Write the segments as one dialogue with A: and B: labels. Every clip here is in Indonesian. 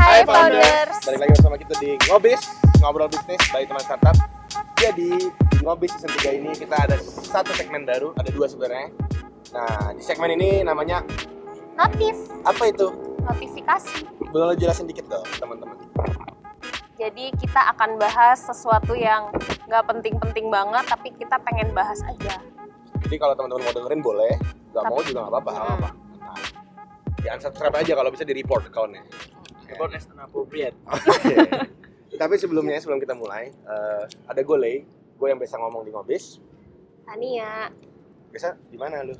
A: Hai, Founders.
B: Balik lagi bersama kita di Ngobis, Ngobrol Bisnis by Teman Startup Jadi, di Ngobis season 3 ini kita ada satu segmen baru, ada dua sebenarnya Nah, di segmen ini namanya,
A: notif
B: apa itu?
A: notifikasi
B: Boleh lo jelasin dikit dong, teman-teman
A: jadi kita akan bahas sesuatu yang nggak penting-penting banget tapi kita pengen bahas aja
B: Jadi kalau teman-teman mau dengerin boleh, gak mau juga gak apa-apa, gak apa-apa Nah,
A: Hmm.
B: Di unsubscribe aja kalau bisa di report accountnya
C: About as inappropriate.
B: Oke. Tapi sebelumnya, sebelum kita mulai, eh, ada gue Lei, gue yang biasa ngomong di Ngobis
A: Tania
B: Biasa di mana lu?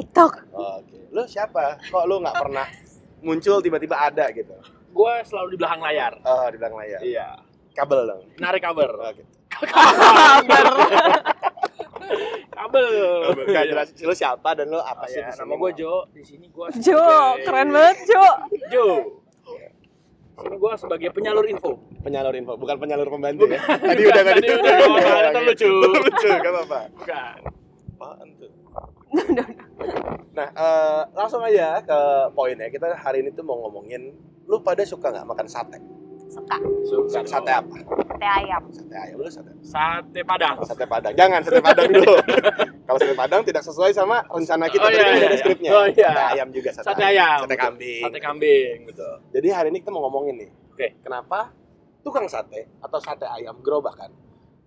A: TikTok
B: Oke. Lu siapa? Kok lu nggak pernah muncul tiba-tiba ada gitu?
C: Gue selalu di belakang layar.
B: Oh, di belakang layar.
C: Iya.
B: Kabel dong.
C: Narik kabel.
B: Oke.
C: Kabel.
B: Gak jelas Iya, lu siapa dan lu apa
C: Apa
B: sih?
C: sih?
B: di sini?
C: Iya. Oh, Nama gue Jo. Di sini gue
A: Jo keren banget Jo
C: Jo. Di sini gue sebagai penyalur info.
B: Penyalur info, bukan penyalur pembantu ya. Tadi
C: Bukan,
B: udah tadi.
C: tadi udah, nggak apa-apa,
B: Oke, oke.
C: itu lucu.
B: Itu Lucu, gak apa-apa.
C: Bukan.
B: Apaan tuh? Nah, eh, langsung aja ke poinnya. Kita hari ini tuh mau ngomongin lu pada suka nggak makan sate?
A: suka
C: Suka.
B: Sate apa?
A: sate ayam
B: Sate ayam lu sate
C: Sate Padang.
B: sate padang jangan sate padang dulu kalau sate padang tidak sesuai sama rencana kita
C: Oh,
B: tadi
C: iya,
B: kan
C: iya,
B: ada
C: iya.
B: skripnya
C: Oh, iya.
B: sate ayam juga sate,
C: Sate ayam.
B: sate kambing
C: Sate kambing. Betul.
B: jadi hari ini kita mau ngomongin nih
C: Oke.
B: kenapa tukang sate atau sate ayam gerobakan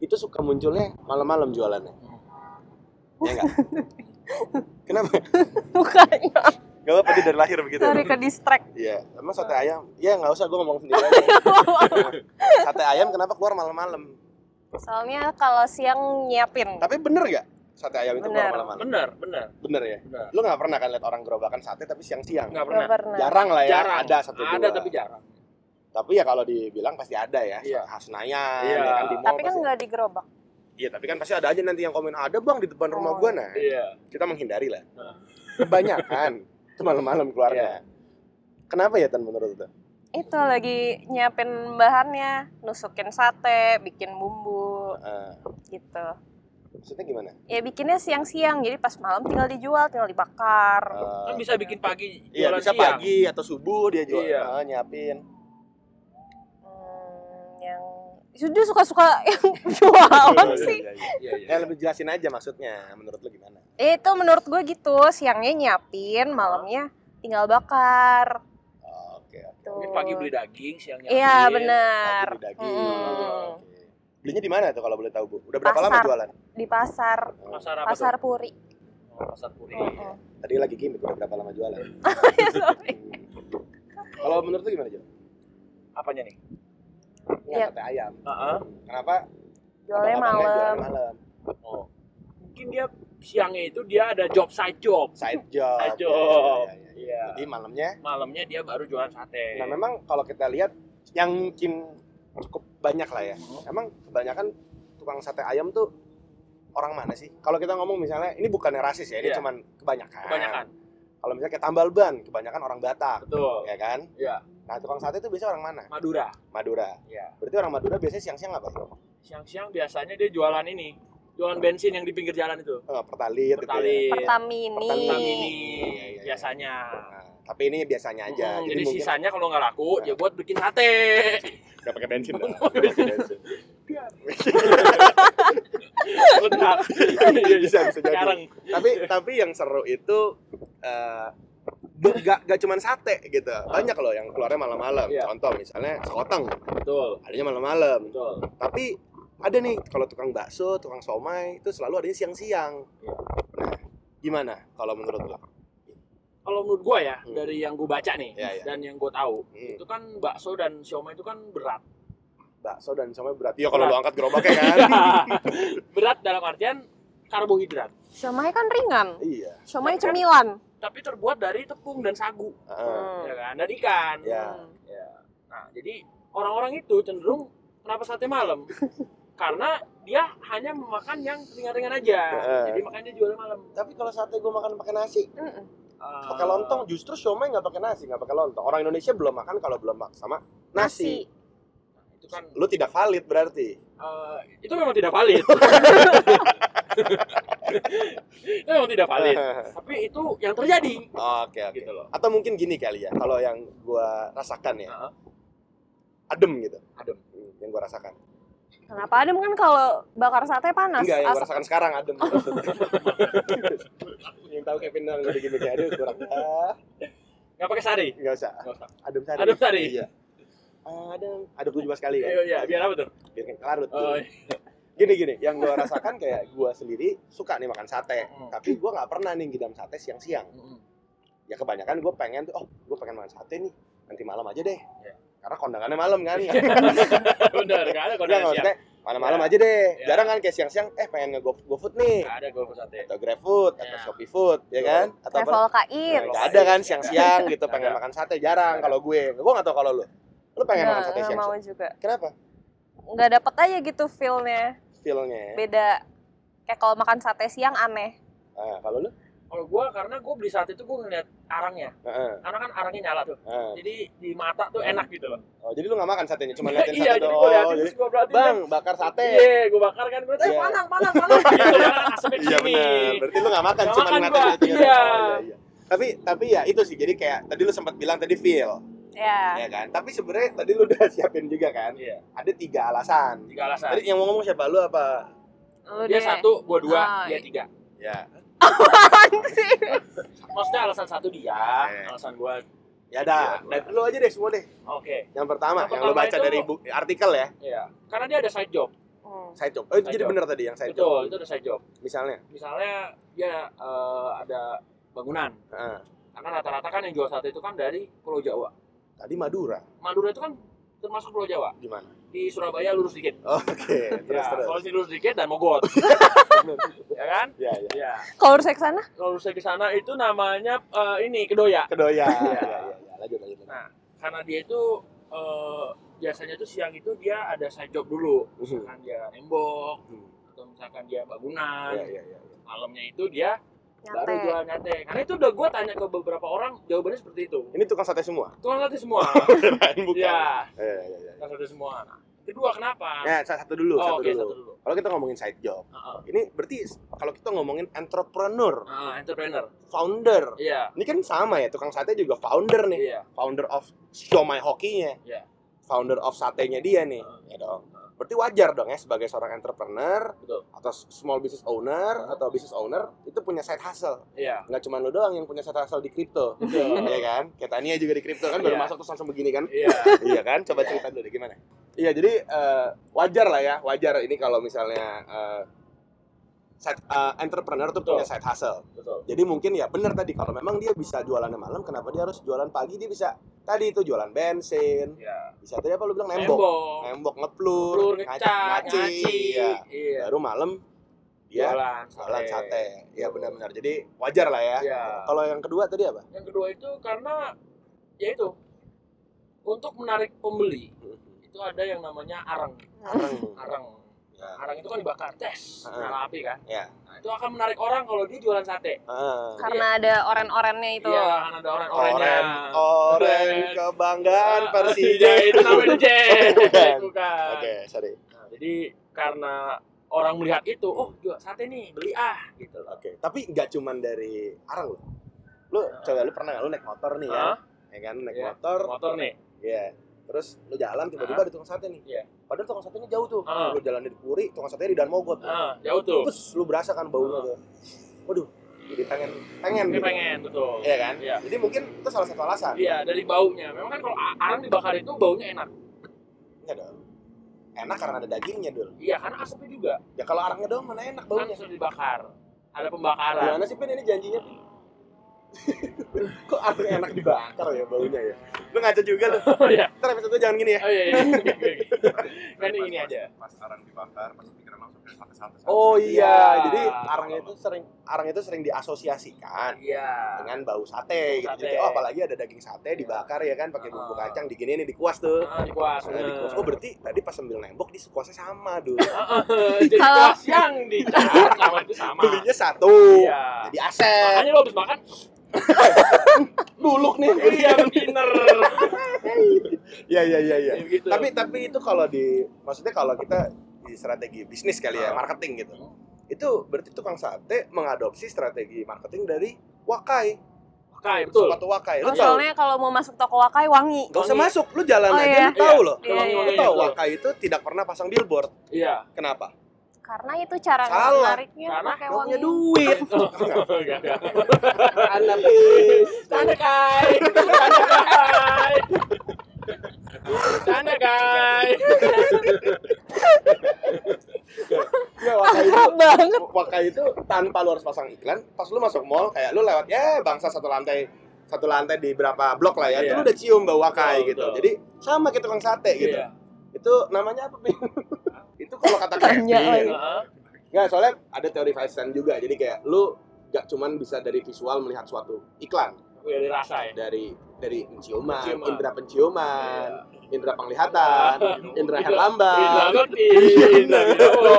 B: itu suka munculnya malam-malam jualannya ya enggak kenapa
A: mukanya
B: gak apa-apa dia dari lahir begitu
A: sorry ke distract
B: Iya, emang sate ayam. Ya nggak usah gue ngomong sendiri aja. sate ayam kenapa keluar malam-malam?
A: soalnya kalau siang nyiapin
B: Tapi bener nggak sate ayam itu keluar
A: Bener.
B: malam-malam?
C: Bener, bener.
B: Bener ya.
C: Bener.
B: lu nggak pernah kan lihat orang gerobakan sate tapi siang-siang
C: Nggak
A: Nggak
C: pernah.
A: pernah
B: jarang lah ya
C: Jarang.
B: ada satu
C: Ada
B: dua.
C: tapi jarang.
B: tapi ya kalau dibilang pasti ada ya
C: Iya.
B: khas Senayan
C: Iya.
B: ya kan di mall
A: tapi kan
B: pasti-
A: nggak di gerobak
B: iya tapi kan pasti ada aja nanti yang komen ada bang di depan
A: Oh.
B: rumah gua nah
C: Iya.
B: kita menghindari lah
C: Nah. Iya.
B: kebanyakan itu malam-malam keluarnya kenapa ya tan menurut lu
A: itu lagi nyiapin bahannya nusukin sate bikin bumbu
B: Eh,
A: gitu
B: maksudnya gimana
A: ya bikinnya siang-siang jadi pas malam tinggal dijual tinggal dibakar
B: Eh,
C: Kan bisa bikin pagi
B: iya
C: jualan
B: bisa
C: siang.
B: pagi atau subuh dia jual
C: Iya.
B: Eh, nyiapin
A: Hmm, yang sudah suka-suka yang jualan
B: Iya,
A: sih
B: iya, iya.
C: Iya, iya.
B: ya lebih jelasin aja maksudnya menurut lu gimana
A: Ya, itu menurut gue gitu siangnya nyiapin malamnya tinggal bakar
B: Oh, oke oke
A: tuh
C: Mungkin pagi beli daging, siangnya
A: iya
C: ambil.
A: benar
B: Daging, daging. Oh,
A: Mm.
B: Oke. Belinya di mana tuh kalau boleh tahu Bu? Udah berapa
A: Pasar.
B: lama jualan?
A: di pasar
C: Pasar apa
A: pasar
C: tuh?
A: puri Hmm,
C: Oh, pasar puri.
A: Heeh.
B: Tadi lagi gimmick udah berapa lama jualan?
A: Oh, iya, Sorry.
B: kalau menurut lu gimana, Jo?
C: Apanya nih?
B: Ini
A: Iya.
B: sate ayam.
C: Heeh.
B: Kenapa?
A: jualnya
B: abang-abangnya
A: malam
B: Jualan malam.
C: Oh. Mungkin dia siangnya itu dia ada job side job.
B: Side job. Iya,
C: Side job.
B: iya, iya, iya.
C: Iya.
B: Jadi malamnya.
C: Malamnya dia baru jualan sate.
B: Nah, memang kalau kita lihat yang mungkin cukup banyak lah ya. Emang kebanyakan tukang sate ayam tuh orang mana sih? Kalau kita ngomong misalnya ini bukannya rasis ya, ini
C: Iya.
B: cuman kebanyakan.
C: kebanyakan.
B: Kalau misalnya kayak tambal ban, kebanyakan orang Batak,
C: Betul.
B: ya kan?
C: Iya.
B: Nah, tukang sate itu biasanya orang mana?
C: Madura.
B: Madura.
C: Iya.
B: Berarti orang Madura biasanya siang-siang apa Eh, sih?
C: Siang-siang biasanya dia jualan ini. Jualan bensin yang di pinggir jalan itu.
B: Eh, pertalit, gitu ya.
C: Pertalit.
A: Pertamini.
C: Iya. Pertamini.
B: Iya, iya, iya.
C: Biasanya.
B: Nah, tapi ini biasanya aja.
C: Mm, jadi
B: mungkin Iya.
C: sisanya kalau nggak laku, dia buat bikin sate.
B: nggak pakai bensin. dah.
C: Benar.
B: Iya, bisa, bisa jadi.
C: Sekarang.
B: tapi tapi yang seru itu eh, be- gak, gak cuman sate gitu. Banyak loh yang keluarnya malam-malam.
C: Iya.
B: Contoh misalnya sekoteng,
C: Betul.
B: adanya malam-malam.
C: Betul.
B: Tapi ada nih kalau tukang bakso, tukang somai itu selalu adanya siang-siang.
C: Iya.
B: Nah, gimana kalau menurut lo?
C: Kalau menurut gua ya,
B: Hmm.
C: dari yang gua baca nih
B: Iya, iya.
C: dan yang gua tahu,
B: Hmm,
C: itu kan bakso dan siomay itu kan berat.
B: bakso dan somai berat. Iya kalau
C: Berat.
B: lo angkat gerobaknya kan.
C: berat dalam artian karbohidrat,
A: siomay kan ringan
B: iya.
A: siomay
C: Tapi kan-
A: cemilan
C: tapi terbuat dari tepung dan sagu,
B: Heeh.
C: ya kan? Dan ikan.
B: Iya.
A: Hmm.
C: Ya. Nah, jadi orang-orang itu cenderung kenapa sate malam? Karena dia hanya memakan yang ringan-ringan aja.
B: Heeh.
C: Jadi makanya dia jualnya malam.
B: Tapi kalau sate gue makan pakai nasi,
A: Mm-mm.
C: Eh,
B: pakai lontong justru siomay nggak pakai nasi nggak pakai lontong orang Indonesia belum makan kalau belum makan sama nasi,
C: Itu kan
B: lu tidak valid berarti
C: eh, itu memang tidak valid. itu memang tidak valid. Tapi itu yang terjadi
B: oke oke
C: gitu loh.
B: atau mungkin gini kali ya kalau yang gua rasakan ya
C: Heeh.
B: adem gitu
C: Adem.
B: Hmm, yang gue rasakan
A: Kenapa adem kan kalau bakar sate panas?
B: enggak yang gue
A: asap.
B: rasakan sekarang adem yang tahu Kevin dong udah gini kayak aduh gue
C: Nggak pakai sari.
B: enggak usah
C: Nggak usah.
B: adem sari
C: Adem sari.
B: iya adem adem tujuh belas kali kan
C: Iya, iya, biar apa tuh?
B: biar kayak larut
C: Oh, iya.
B: gini gini yang gue rasakan kayak gue sendiri suka nih makan sate
C: Hmm.
B: tapi gue nggak pernah nih ngidam sate siang-siang
C: Mm-mm.
B: ya kebanyakan gue pengen tuh oh gue pengen makan sate nih nanti malam aja deh
C: Iya.
B: karena kondangannya malam kan
C: Eh, Bener, nggak ada
B: Enggak,
C: kondisi.
B: maksudnya malam-malam
C: Ya.
B: aja deh.
C: Ya.
B: Jarang kan kayak siang-siang, eh pengen nge-go GoFood nih.
C: Nggak ada gue sate.
B: Atau GrabFood, atau
C: Ya.
B: Shopee Food, ya
C: Betul.
B: kan? Atau apa?
A: Travel
B: Nah,
A: kain.
B: nggak ada kan
C: Nggak
B: siang-siang gitu
C: Nggak
B: pengen
C: ada.
B: makan sate. Jarang kalau gue. Gue gak tau kalau lu. Lu pengen makan sate
A: mau
B: siang-siang.
A: juga.
B: Kenapa?
A: Nggak dapet aja gitu feel-nya.
B: Feel-nya.
A: Beda. Kayak kalau makan sate siang aneh.
B: Ah, kalau lu?
C: Kalau gue, karena gue beli sate tuh gue ngeliat arangnya.
B: Heeh.
C: Karena kan arangnya nyala tuh.
B: heeh.
C: Jadi di mata tuh enak gitu loh.
B: ah. Oh, jadi lu gak makan satenya, cuma liatin
C: iya,
B: sate
C: jadi
B: doang.
C: gue liatin
B: Oh, jadi,
C: terus gue berarti
B: Bang, bakar sate.
C: Iya, gue bakar kan. Gue eh
B: Iya.
C: panang, panang, panang. Gitu kan, asapnya
B: Iya
C: kesini.
B: benar. Berarti lu gak makan,
C: Nggak
B: cuma
C: makan
B: ngeliatin
C: gua.
B: sate.
C: Iya.
B: Tapi tapi ya itu sih. Jadi kayak tadi lu sempat bilang tadi feel,
A: Ya.
B: ya kan? Tapi sebenarnya tadi lu udah siapin juga kan?
C: Iya,
B: Ada tiga alasan.
C: tiga alasan.
B: Tadi yang mau ngomong siapa lu apa?
A: Ya, Lu
C: Dia
A: deh.
C: satu, gue dua,
A: Oh,
C: dia
A: iya.
C: tiga.
B: Ya,
A: Apaan sih?
C: Maksudnya alasan satu dia,
B: Oke.
C: alasan gue.
B: ya dah.
C: Iya.
B: Dan lu aja deh semua deh.
C: Oke.
B: Yang pertama,
C: Yang
B: yang lu
C: pertama
B: baca
C: itu-
B: dari bu- artikel ya,
C: Iya. Karena dia ada side job.
A: Hmm.
B: side job. Oh, itu
C: Side
B: jadi
C: job.
B: bener tadi yang side job.
C: Betul, itu ada side job.
B: Misalnya,
C: Misalnya dia eh, ada bangunan.
B: Heeh.
C: Karena rata-rata kan yang jual sate itu kan dari Pulau Jawa.
B: tadi Madura
C: Madura itu kan termasuk Pulau Jawa.
B: gimana?
C: Di Surabaya lurus dikit.
B: Oke, terus
C: ya,
B: terus.
C: Kalau sini lurus dikit dan Mogot. ya kan?
B: Ya, ya.
C: Ya.
A: Kalau urus ke sana?
C: Kalau saya ke sana itu namanya eh, ini Kedoya.
B: Kedoya.
C: Iya.
B: ya, ya, ya. Lanjut, lanjut. lanjut.
C: Nah, karena dia itu eh, biasanya tuh siang itu dia ada side job dulu.
B: Hmm.
C: Misalkan dia nembok
B: Hmm.
C: atau misalkan dia bangunan.
B: Ya, ya, ya. ya.
C: Malamnya itu dia baru
A: Nyate.
C: jual nyate. Karena itu udah gue tanya ke beberapa orang jawabannya seperti itu.
B: Ini tukang sate semua.
C: Tukang sate semua.
B: Kirain Bukan.
C: Iya,
B: Ya, ya, ya, ya.
C: tukang sate semua. Nah, kedua kenapa?
B: Ya, satu dulu,
C: oh,
B: satu
C: oke,
B: dulu.
C: satu dulu. Ah,
B: Kalau kita ngomongin side job,
C: Heeh.
B: ini berarti kalau kita ngomongin entrepreneur,
C: Ah, entrepreneur.
B: founder,
C: Iya,
B: ini kan sama ya, tukang sate juga founder nih.
C: iya.
B: founder of Siomay Hokinya,
C: Iya. Oh,
B: founder of satenya dia nih, ya
C: Heeh.
B: dong.
C: Heeh.
B: Berarti wajar dong ya sebagai seorang entrepreneur
C: Betul.
B: atau small business owner atau business owner itu punya side hustle.
C: Iya.
B: Nggak cuma lo doang yang punya side hustle di kripto, ya kan? Kayak Tania juga di kripto kan baru
C: Iya.
B: masuk terus langsung begini kan?
C: Iya.
B: iya kan? Coba
C: Iya.
B: cerita dulu deh gimana? Iya jadi eh, wajar lah ya, wajar ini kalau misalnya eh, side- eh, entrepreneur tuh
C: Betul.
B: punya side hustle.
C: Betul.
B: Jadi mungkin ya benar tadi kalau memang dia bisa jualannya malam, kenapa dia harus jualan pagi? Dia bisa tadi itu jualan bensin,
C: Iya.
B: bisa tadi apa lu bilang nembok,
C: Nembok.
B: nembok ngeplur,
C: Telur ngecat,
B: ngaci,
C: ngaci.
B: iya.
C: Iya.
B: Baru malam dia
C: Jualan
B: jualan sate. Ya benar-benar. Jadi wajar lah ya.
C: Iya.
B: Kalau yang kedua tadi apa?
C: Yang kedua itu karena ya itu untuk menarik pembeli itu ada yang namanya arang.
B: Areng.
C: Arang.
B: Ya.
C: Arang itu kan dibakar, tes,
B: Heeh.
C: nyala api kan.
B: Iya.
C: Nah, itu akan menarik orang kalau dia jualan sate.
B: Ah.
A: Karena ada oren-orennya itu.
C: Iya, kan ada orang-orangnya.
B: Oren, oren kebanggaan
C: Ah,
B: Persija.
C: itu namanya DJ.
B: Bukan.
C: Bukan.
B: Oke, sorry.
C: Nah, jadi karena orang melihat itu, oh jual sate nih, beli ah gitu loh.
B: Oke, tapi nggak cuman dari arang lo. Lu coba lu pernah nggak lu naik motor nih ya?
C: Hah?
B: Ya kan naik
C: Iya.
B: motor,
C: Motor nih.
B: Iya. Terus lu jalan tiba-tiba ada tukang sate nih.
C: Iya.
B: Padahal tukang satenya jauh tuh.
C: Ah.
B: Lu jalan di Puri, tukang satenya di Dan Mogot.
C: Ah, jauh tuh.
B: Terus lu berasa kan baunya
C: Ah.
B: tuh. Waduh, jadi pengen pengen
C: Dia
B: gitu.
C: pengen betul.
B: Iya kan?
C: Iya.
B: Jadi mungkin itu salah satu alasan.
C: Iya, dari baunya. Memang kan kalau a- arang dibakar itu baunya enak.
B: Enggak dong. Enak karena ada dagingnya dulu.
C: Iya, karena asapnya juga.
B: Ya kalau arangnya doang mana enak
C: Kan
B: baunya.
C: sudah dibakar. Ada pembakaran.
B: Gimana sih Pin ini janjinya? Pin? Kok arangnya enak dibakar ya baunya ya? Lu ngaco juga lu.
C: Oh iya.
B: Ntar episode itu jangan gini ya.
C: Oh iya. iya. Oke, oke, oke. Kan ini aja.
D: pas arang dibakar pasti pikiran langsung ke sate-sate
B: Oh
C: iya.
B: iya, jadi arangnya itu sering arang itu sering diasosiasikan
C: Iya.
B: dengan bau sate, gitu.
C: Bau
B: Jadi
C: sate.
B: kayak, oh apalagi ada daging sate dibakar ya kan pakai bumbu
C: Ah.
B: kacang digini nih dikuas tuh.
C: Ah, dikuas.
B: Nah, dikuas. Oh berarti tadi pas sambil nembok di kuasnya sama dulu.
C: Jadi
A: Kalau-
C: kuas yang dicat sama itu sama.
B: Belinya satu.
C: Iya.
B: Jadi aset.
C: Makanya lo habis makan,
B: Buluk nih.
C: iya beginner.
B: Iya iya iya iya.
C: Ya, gitu.
B: Tapi tapi itu kalau di maksudnya kalau kita di strategi bisnis kali ya,
C: Ah.
B: marketing gitu. Itu berarti tukang sate mengadopsi strategi marketing dari Wakai.
C: Wakai, betul. iya.
B: Sepatu wakai. Lu
A: Oh,
B: tahu?
A: soalnya kalau mau masuk toko Wakai wangi.
B: Gak usah
C: Wangi.
B: masuk, lu jalan
A: Oh,
B: aja
A: iya.
B: lu tahu
C: Iya.
B: loh.
A: Iya, iya,
B: Lu
A: iya.
B: tahu wakai itu tidak pernah pasang billboard.
C: Iya.
B: Kenapa?
A: Karena itu cara
B: Salah.
A: menariknya Iya,
C: Karena
A: pakai
B: Gak
A: wangi.
B: punya duit.
C: Enggak, enggak.
B: Anak bis.
C: Canda kai. Canda kai. Canda kai.
B: Ya, wakai itu
A: Parah banget.
B: wakai itu tanpa lu harus pasang iklan, pas lu masuk mall kayak lu lewat ya bangsa satu lantai satu lantai di berapa blok lah ya, itu
C: Iya.
B: lu udah cium bau wakai
C: Betul,
B: gitu.
C: betul.
B: Jadi sama kayak tukang sate gitu.
C: Iya.
B: Itu namanya apa, Bin? itu kalau kata
A: Tanya lagi.
B: Kevin, Nggak, soalnya ada teori five cent juga. Jadi kayak lu gak cuman bisa dari visual melihat suatu iklan
C: Gue dirasa ya.
B: dari dari penciuman,
C: Penciuman. Iya.
B: indera penciuman, indera penglihatan, indra
C: Indra
B: herlambang.
C: Lutfi. Indra
B: Benar,
C: Widodo.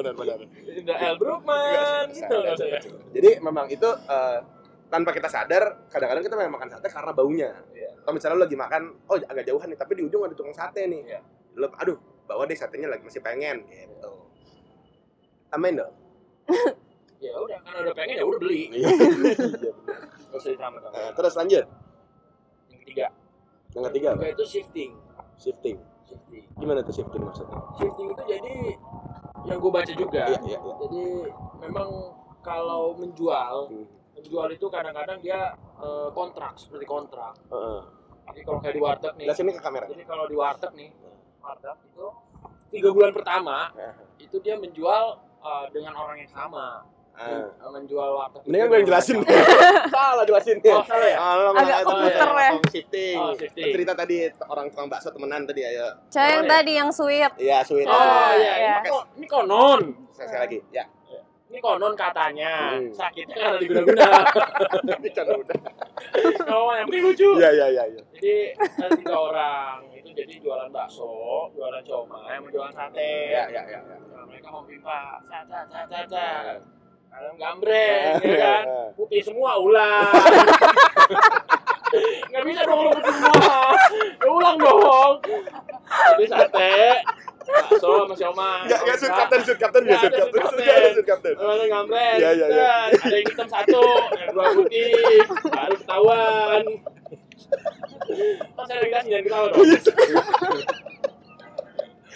B: benar, benar.
C: Indra El
B: Iya,
C: Brookman. Gitu loh, saya.
B: Jadi memang itu eh, tanpa kita sadar, kadang-kadang kita memang makan sate karena baunya.
C: Iya.
B: Atau misalnya lu lagi makan, oh agak jauhan nih, tapi di ujung ada tukang sate nih.
C: Iya.
B: Lu, aduh, bawa deh satenya lagi masih pengen gitu. Amin dong.
C: Ya udah, karena udah pengen ya udah beli.
B: Iya.
C: Terus ditambah.
B: Nah, terus lanjut.
C: Yang ketiga.
B: Yang ketiga apa?
C: Ketiga itu shifting.
B: Shifting.
C: Shifting.
B: Gimana tuh shifting maksudnya?
C: Shifting itu jadi yang gue baca juga.
B: Iya, iya, iya.
C: Jadi memang kalau menjual,
B: Hmm.
C: menjual itu kadang-kadang dia eh, kontrak seperti kontrak.
B: Heeh.
C: Jadi kalau kayak di warteg nih.
B: Lihat sini ke kamera.
C: Jadi kalau di warteg nih, warteg itu tiga bulan pertama
B: Heeh.
C: itu dia menjual eh, dengan orang yang sama.
B: Ah.
C: Men- menjual warteg.
B: Mendingan gue yang jelasin. Salah jelasinnya.
C: Oh, salah ya?
B: Ah, lo
A: Agak
B: malah-
A: keputer
B: oh,
A: ya.
B: ngomong Shifting.
C: Oh, shifting.
B: Cerita tadi orang tukang bakso temenan tadi ayo.
A: Cewek yang
C: Oh, iya.
A: tadi yang sweet.
B: Iya, sweet.
C: Oh iya,
A: Iya.
C: ini, ko- ini konon.
B: Saya sekali lagi. Ya.
C: Ini konon katanya.
B: Hmm.
C: Sakitnya karena diguna-guna.
B: Tapi
C: kan
B: canda udah.
C: Oh, yang penting lucu.
B: Iya, iya, iya, iya.
C: Jadi ada tiga orang itu jadi jualan bakso, jualan siomay, sama jualan sate.
B: Iya, iya, iya. iya.
C: Nah, mereka mau pipa, sat sat sat sat.
B: Nah.
C: sat. Kadang gambreng, ya kan? Putih semua ulang. Nggak bisa dong lu putih semua. Ya ulang dong. Jadi sate, bakso sama siomay.
B: Enggak, enggak
C: Kalau
B: suit captain, suit captain, enggak
C: Nah. Nggak
B: suit
C: ada
B: captain.
C: suit
B: Enggak ada
C: captain. Oh.
B: suit captain.
C: Ada ngamret,
B: Iya, iya, iya.
C: dan ada yang hitam satu, yang dua putih, baru ketahuan. Pas ada dikasih jangan ketahuan dong.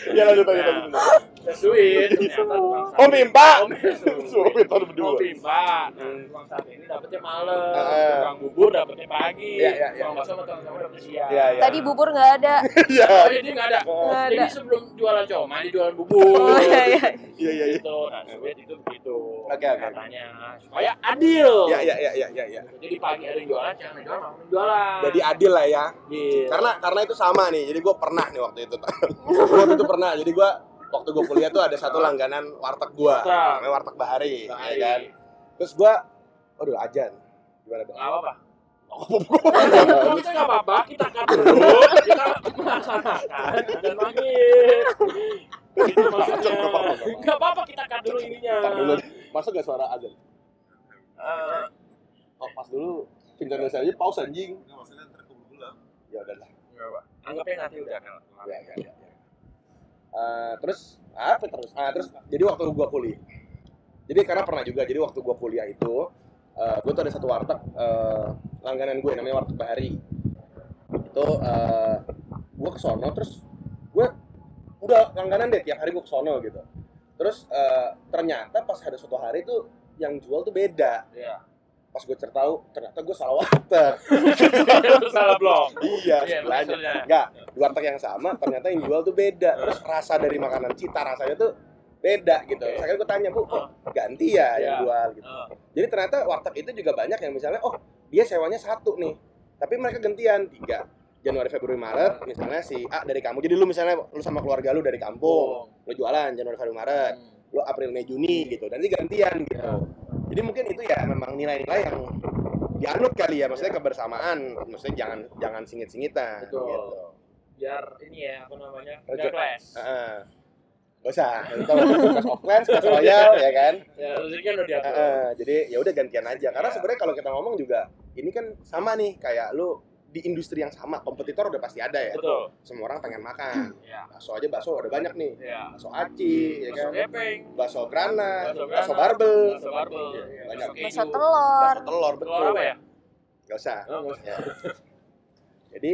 B: Iya, lanjut, lanjut,
C: Nah.
B: lanjut.
C: Sesuin, ternyata tukang sate.
B: Oh, mimpa.
C: Om Mimpa.
B: Suami taruh berdua.
C: Oh, Mimpa. Nah, tukang sate ini dapetnya malam,
B: Heeh.
C: tukang bubur dapetnya pagi,
B: Iya, iya, iya.
C: tukang bakso sama tukang sama dapetnya siang.
B: Iya, iya.
A: Tadi bubur nggak ada.
B: Iya.
C: Oh, ini nggak ada.
A: Nggak ada.
C: Jadi sebelum jualan comai, dia jualan bubur.
A: Oh, iya, iya.
B: Iya, iya, iya.
C: Gitu, nah, sebenarnya itu begitu.
B: Oke, oke.
C: Katanya, supaya adil.
B: Iya, iya, iya, iya, iya, iya.
C: Jadi pagi ada yang jualan, jangan ada yang jualan, malam ada yang jualan.
B: Jadi adil lah ya.
C: Iya.
B: karena karena itu sama nih jadi gue pernah nih waktu itu Gua waktu itu pernah jadi gue waktu gue kuliah tuh ada satu langganan warteg gue
C: Warteg.
B: namanya warteg Bahari, ya
C: Baik.
B: kan terus gue aduh ajan gimana dong
C: Nggak apa-apa.
B: Ajan.
C: Kalau kita nggak apa-apa, kita akan dulu, kita melaksanakan dan maghrib. Gitu maksudnya.
B: Nggak apa-apa.
C: Nggak apa-apa, kita akan dulu ininya.
B: Ntar dulu masa gak suara ajan
C: Eh,
B: oh pas dulu pindah Indonesia aja paus anjing
D: Enggak maksudnya ntar keburu lah.
B: ya udah lah
C: anggapnya nanti udah akan
B: ya, ya, ya, ya. Eh, terus apa terus ah terus jadi waktu gue kuliah jadi karena pernah juga jadi waktu gue kuliah itu gue tuh ada satu warteg eh, langganan gue namanya warteg Bahari itu gue ke sono terus gue udah langganan deh tiap hari gue ke sono gitu terus eh, ternyata pas ada suatu hari tuh yang jual tuh beda
C: Iya.
B: pas gue certau ternyata gue salah warteg
C: Itu salah belum.
B: iya
C: Iya,
B: sebelahnya
C: maksudnya.
B: enggak di warteg yang sama ternyata yang jual tuh beda terus rasa dari makanan cita rasanya tuh beda gitu
C: Oke.
B: Terus akhirnya gue tanya bu kok ganti ya yang
C: Iya.
B: jual gitu
C: Eh,
B: jadi ternyata warteg itu juga banyak yang misalnya oh dia sewanya satu nih tapi mereka gantian tiga Januari Februari Maret misalnya si A dari kamu jadi lu misalnya lu sama keluarga lu dari kampung
C: Oh.
B: lu jualan Januari Februari
C: Eh,
B: Maret lu April Mei Juni gitu nanti gantian
C: Iya.
B: gitu jadi mungkin itu ya memang nilai-nilai yang dianut kali ya maksudnya kebersamaan maksudnya jangan jangan singit-singitan
C: Betul.
B: gitu
C: Biar ini ya, apa namanya?
B: Ojo.
C: Biar clash.
B: Heeh. Gak usah kita clash of clans clash royal ya kan
C: Ya, jadi kan udah diatur.
B: Heeh, jadi ya udah gantian aja
C: Iya.
B: karena sebenarnya kalau kita ngomong juga ini kan sama nih kayak lu di industri yang sama kompetitor udah pasti ada ya
C: Betul.
B: semua orang pengen makan
C: Iya.
B: bakso aja bakso ada banyak nih
C: Iya.
B: bakso aci ya
C: Bakso
B: kan
C: gepeng,
B: bakso granat
C: Bakso granat.
B: bakso barbel
C: bakso barbel,
B: Iya, iya.
C: bakso
B: Banyak.
C: keju.
A: Bakso telur.
B: bakso telur betul
C: Telur apa ya?
B: nggak usah.
C: Oh,
B: Ya. Jadi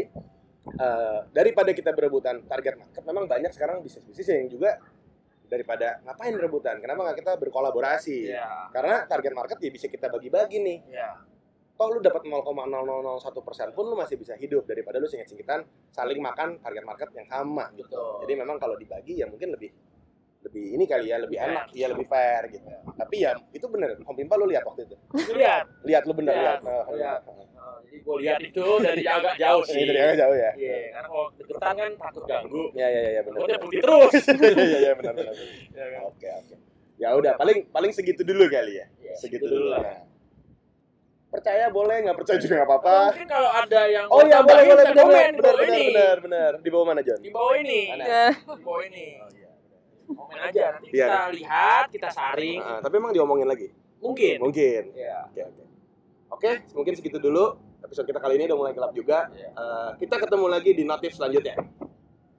B: eh, daripada kita berebutan target market, memang banyak sekarang bisnis-bisnis yang juga daripada ngapain rebutan, kenapa nggak kita berkolaborasi?
C: Iya.
B: Karena target market ya bisa kita bagi-bagi nih.
C: Iya.
B: Toh lu dapat 0,0001 persen pun lu masih bisa hidup daripada lu singkit-singkitan saling makan target market yang sama gitu.
C: Betul.
B: Jadi memang kalau dibagi ya mungkin lebih lebih ini kali ya lebih
C: Fair.
B: enak, ya lebih fair gitu. Tapi ya itu bener, Om Pimpa lu lihat waktu itu.
C: Lu lihat.
B: Lihat lu bener
C: Lihat,
B: lihat. Eh,
C: lihat. Oh, jadi gue lihat itu Iya. dari agak jauh
B: Ini
C: sih.
B: dari agak jauh ya.
C: Iya, karena kalau deketan kan takut ganggu.
B: Ya ya ya, ya benar.
C: Gue putih terus.
B: Iya iya iya benar benar. benar.
C: Iya kan?
B: Oke oke. Ya udah paling paling segitu dulu kali ya.
C: Iya,
B: Segitu
C: gitu dulu lah.
B: Nah. Percaya boleh, nggak percaya juga nggak apa-apa.
C: Mungkin kalau ada yang
B: Oh
C: mau
B: iya boleh
C: tambahin,
B: boleh
C: bisa
B: benar benar benar
C: komen di bawah
B: benar
C: ini.
B: benar benar. Di bawah mana John?
C: Di bawah ini.
B: Mana?
A: Ya.
C: Di bawah ini.
B: Oh, iya.
C: Komen aja nanti
B: Iya.
C: kita lihat, kita saring.
B: Ah, tapi emang diomongin lagi.
C: Mungkin.
B: Mungkin.
C: Iya.
B: Oke oke. Oke, mungkin segitu dulu episode kita kali ini udah mulai gelap juga.
C: Iya.
B: Eh, kita ketemu lagi di notif selanjutnya.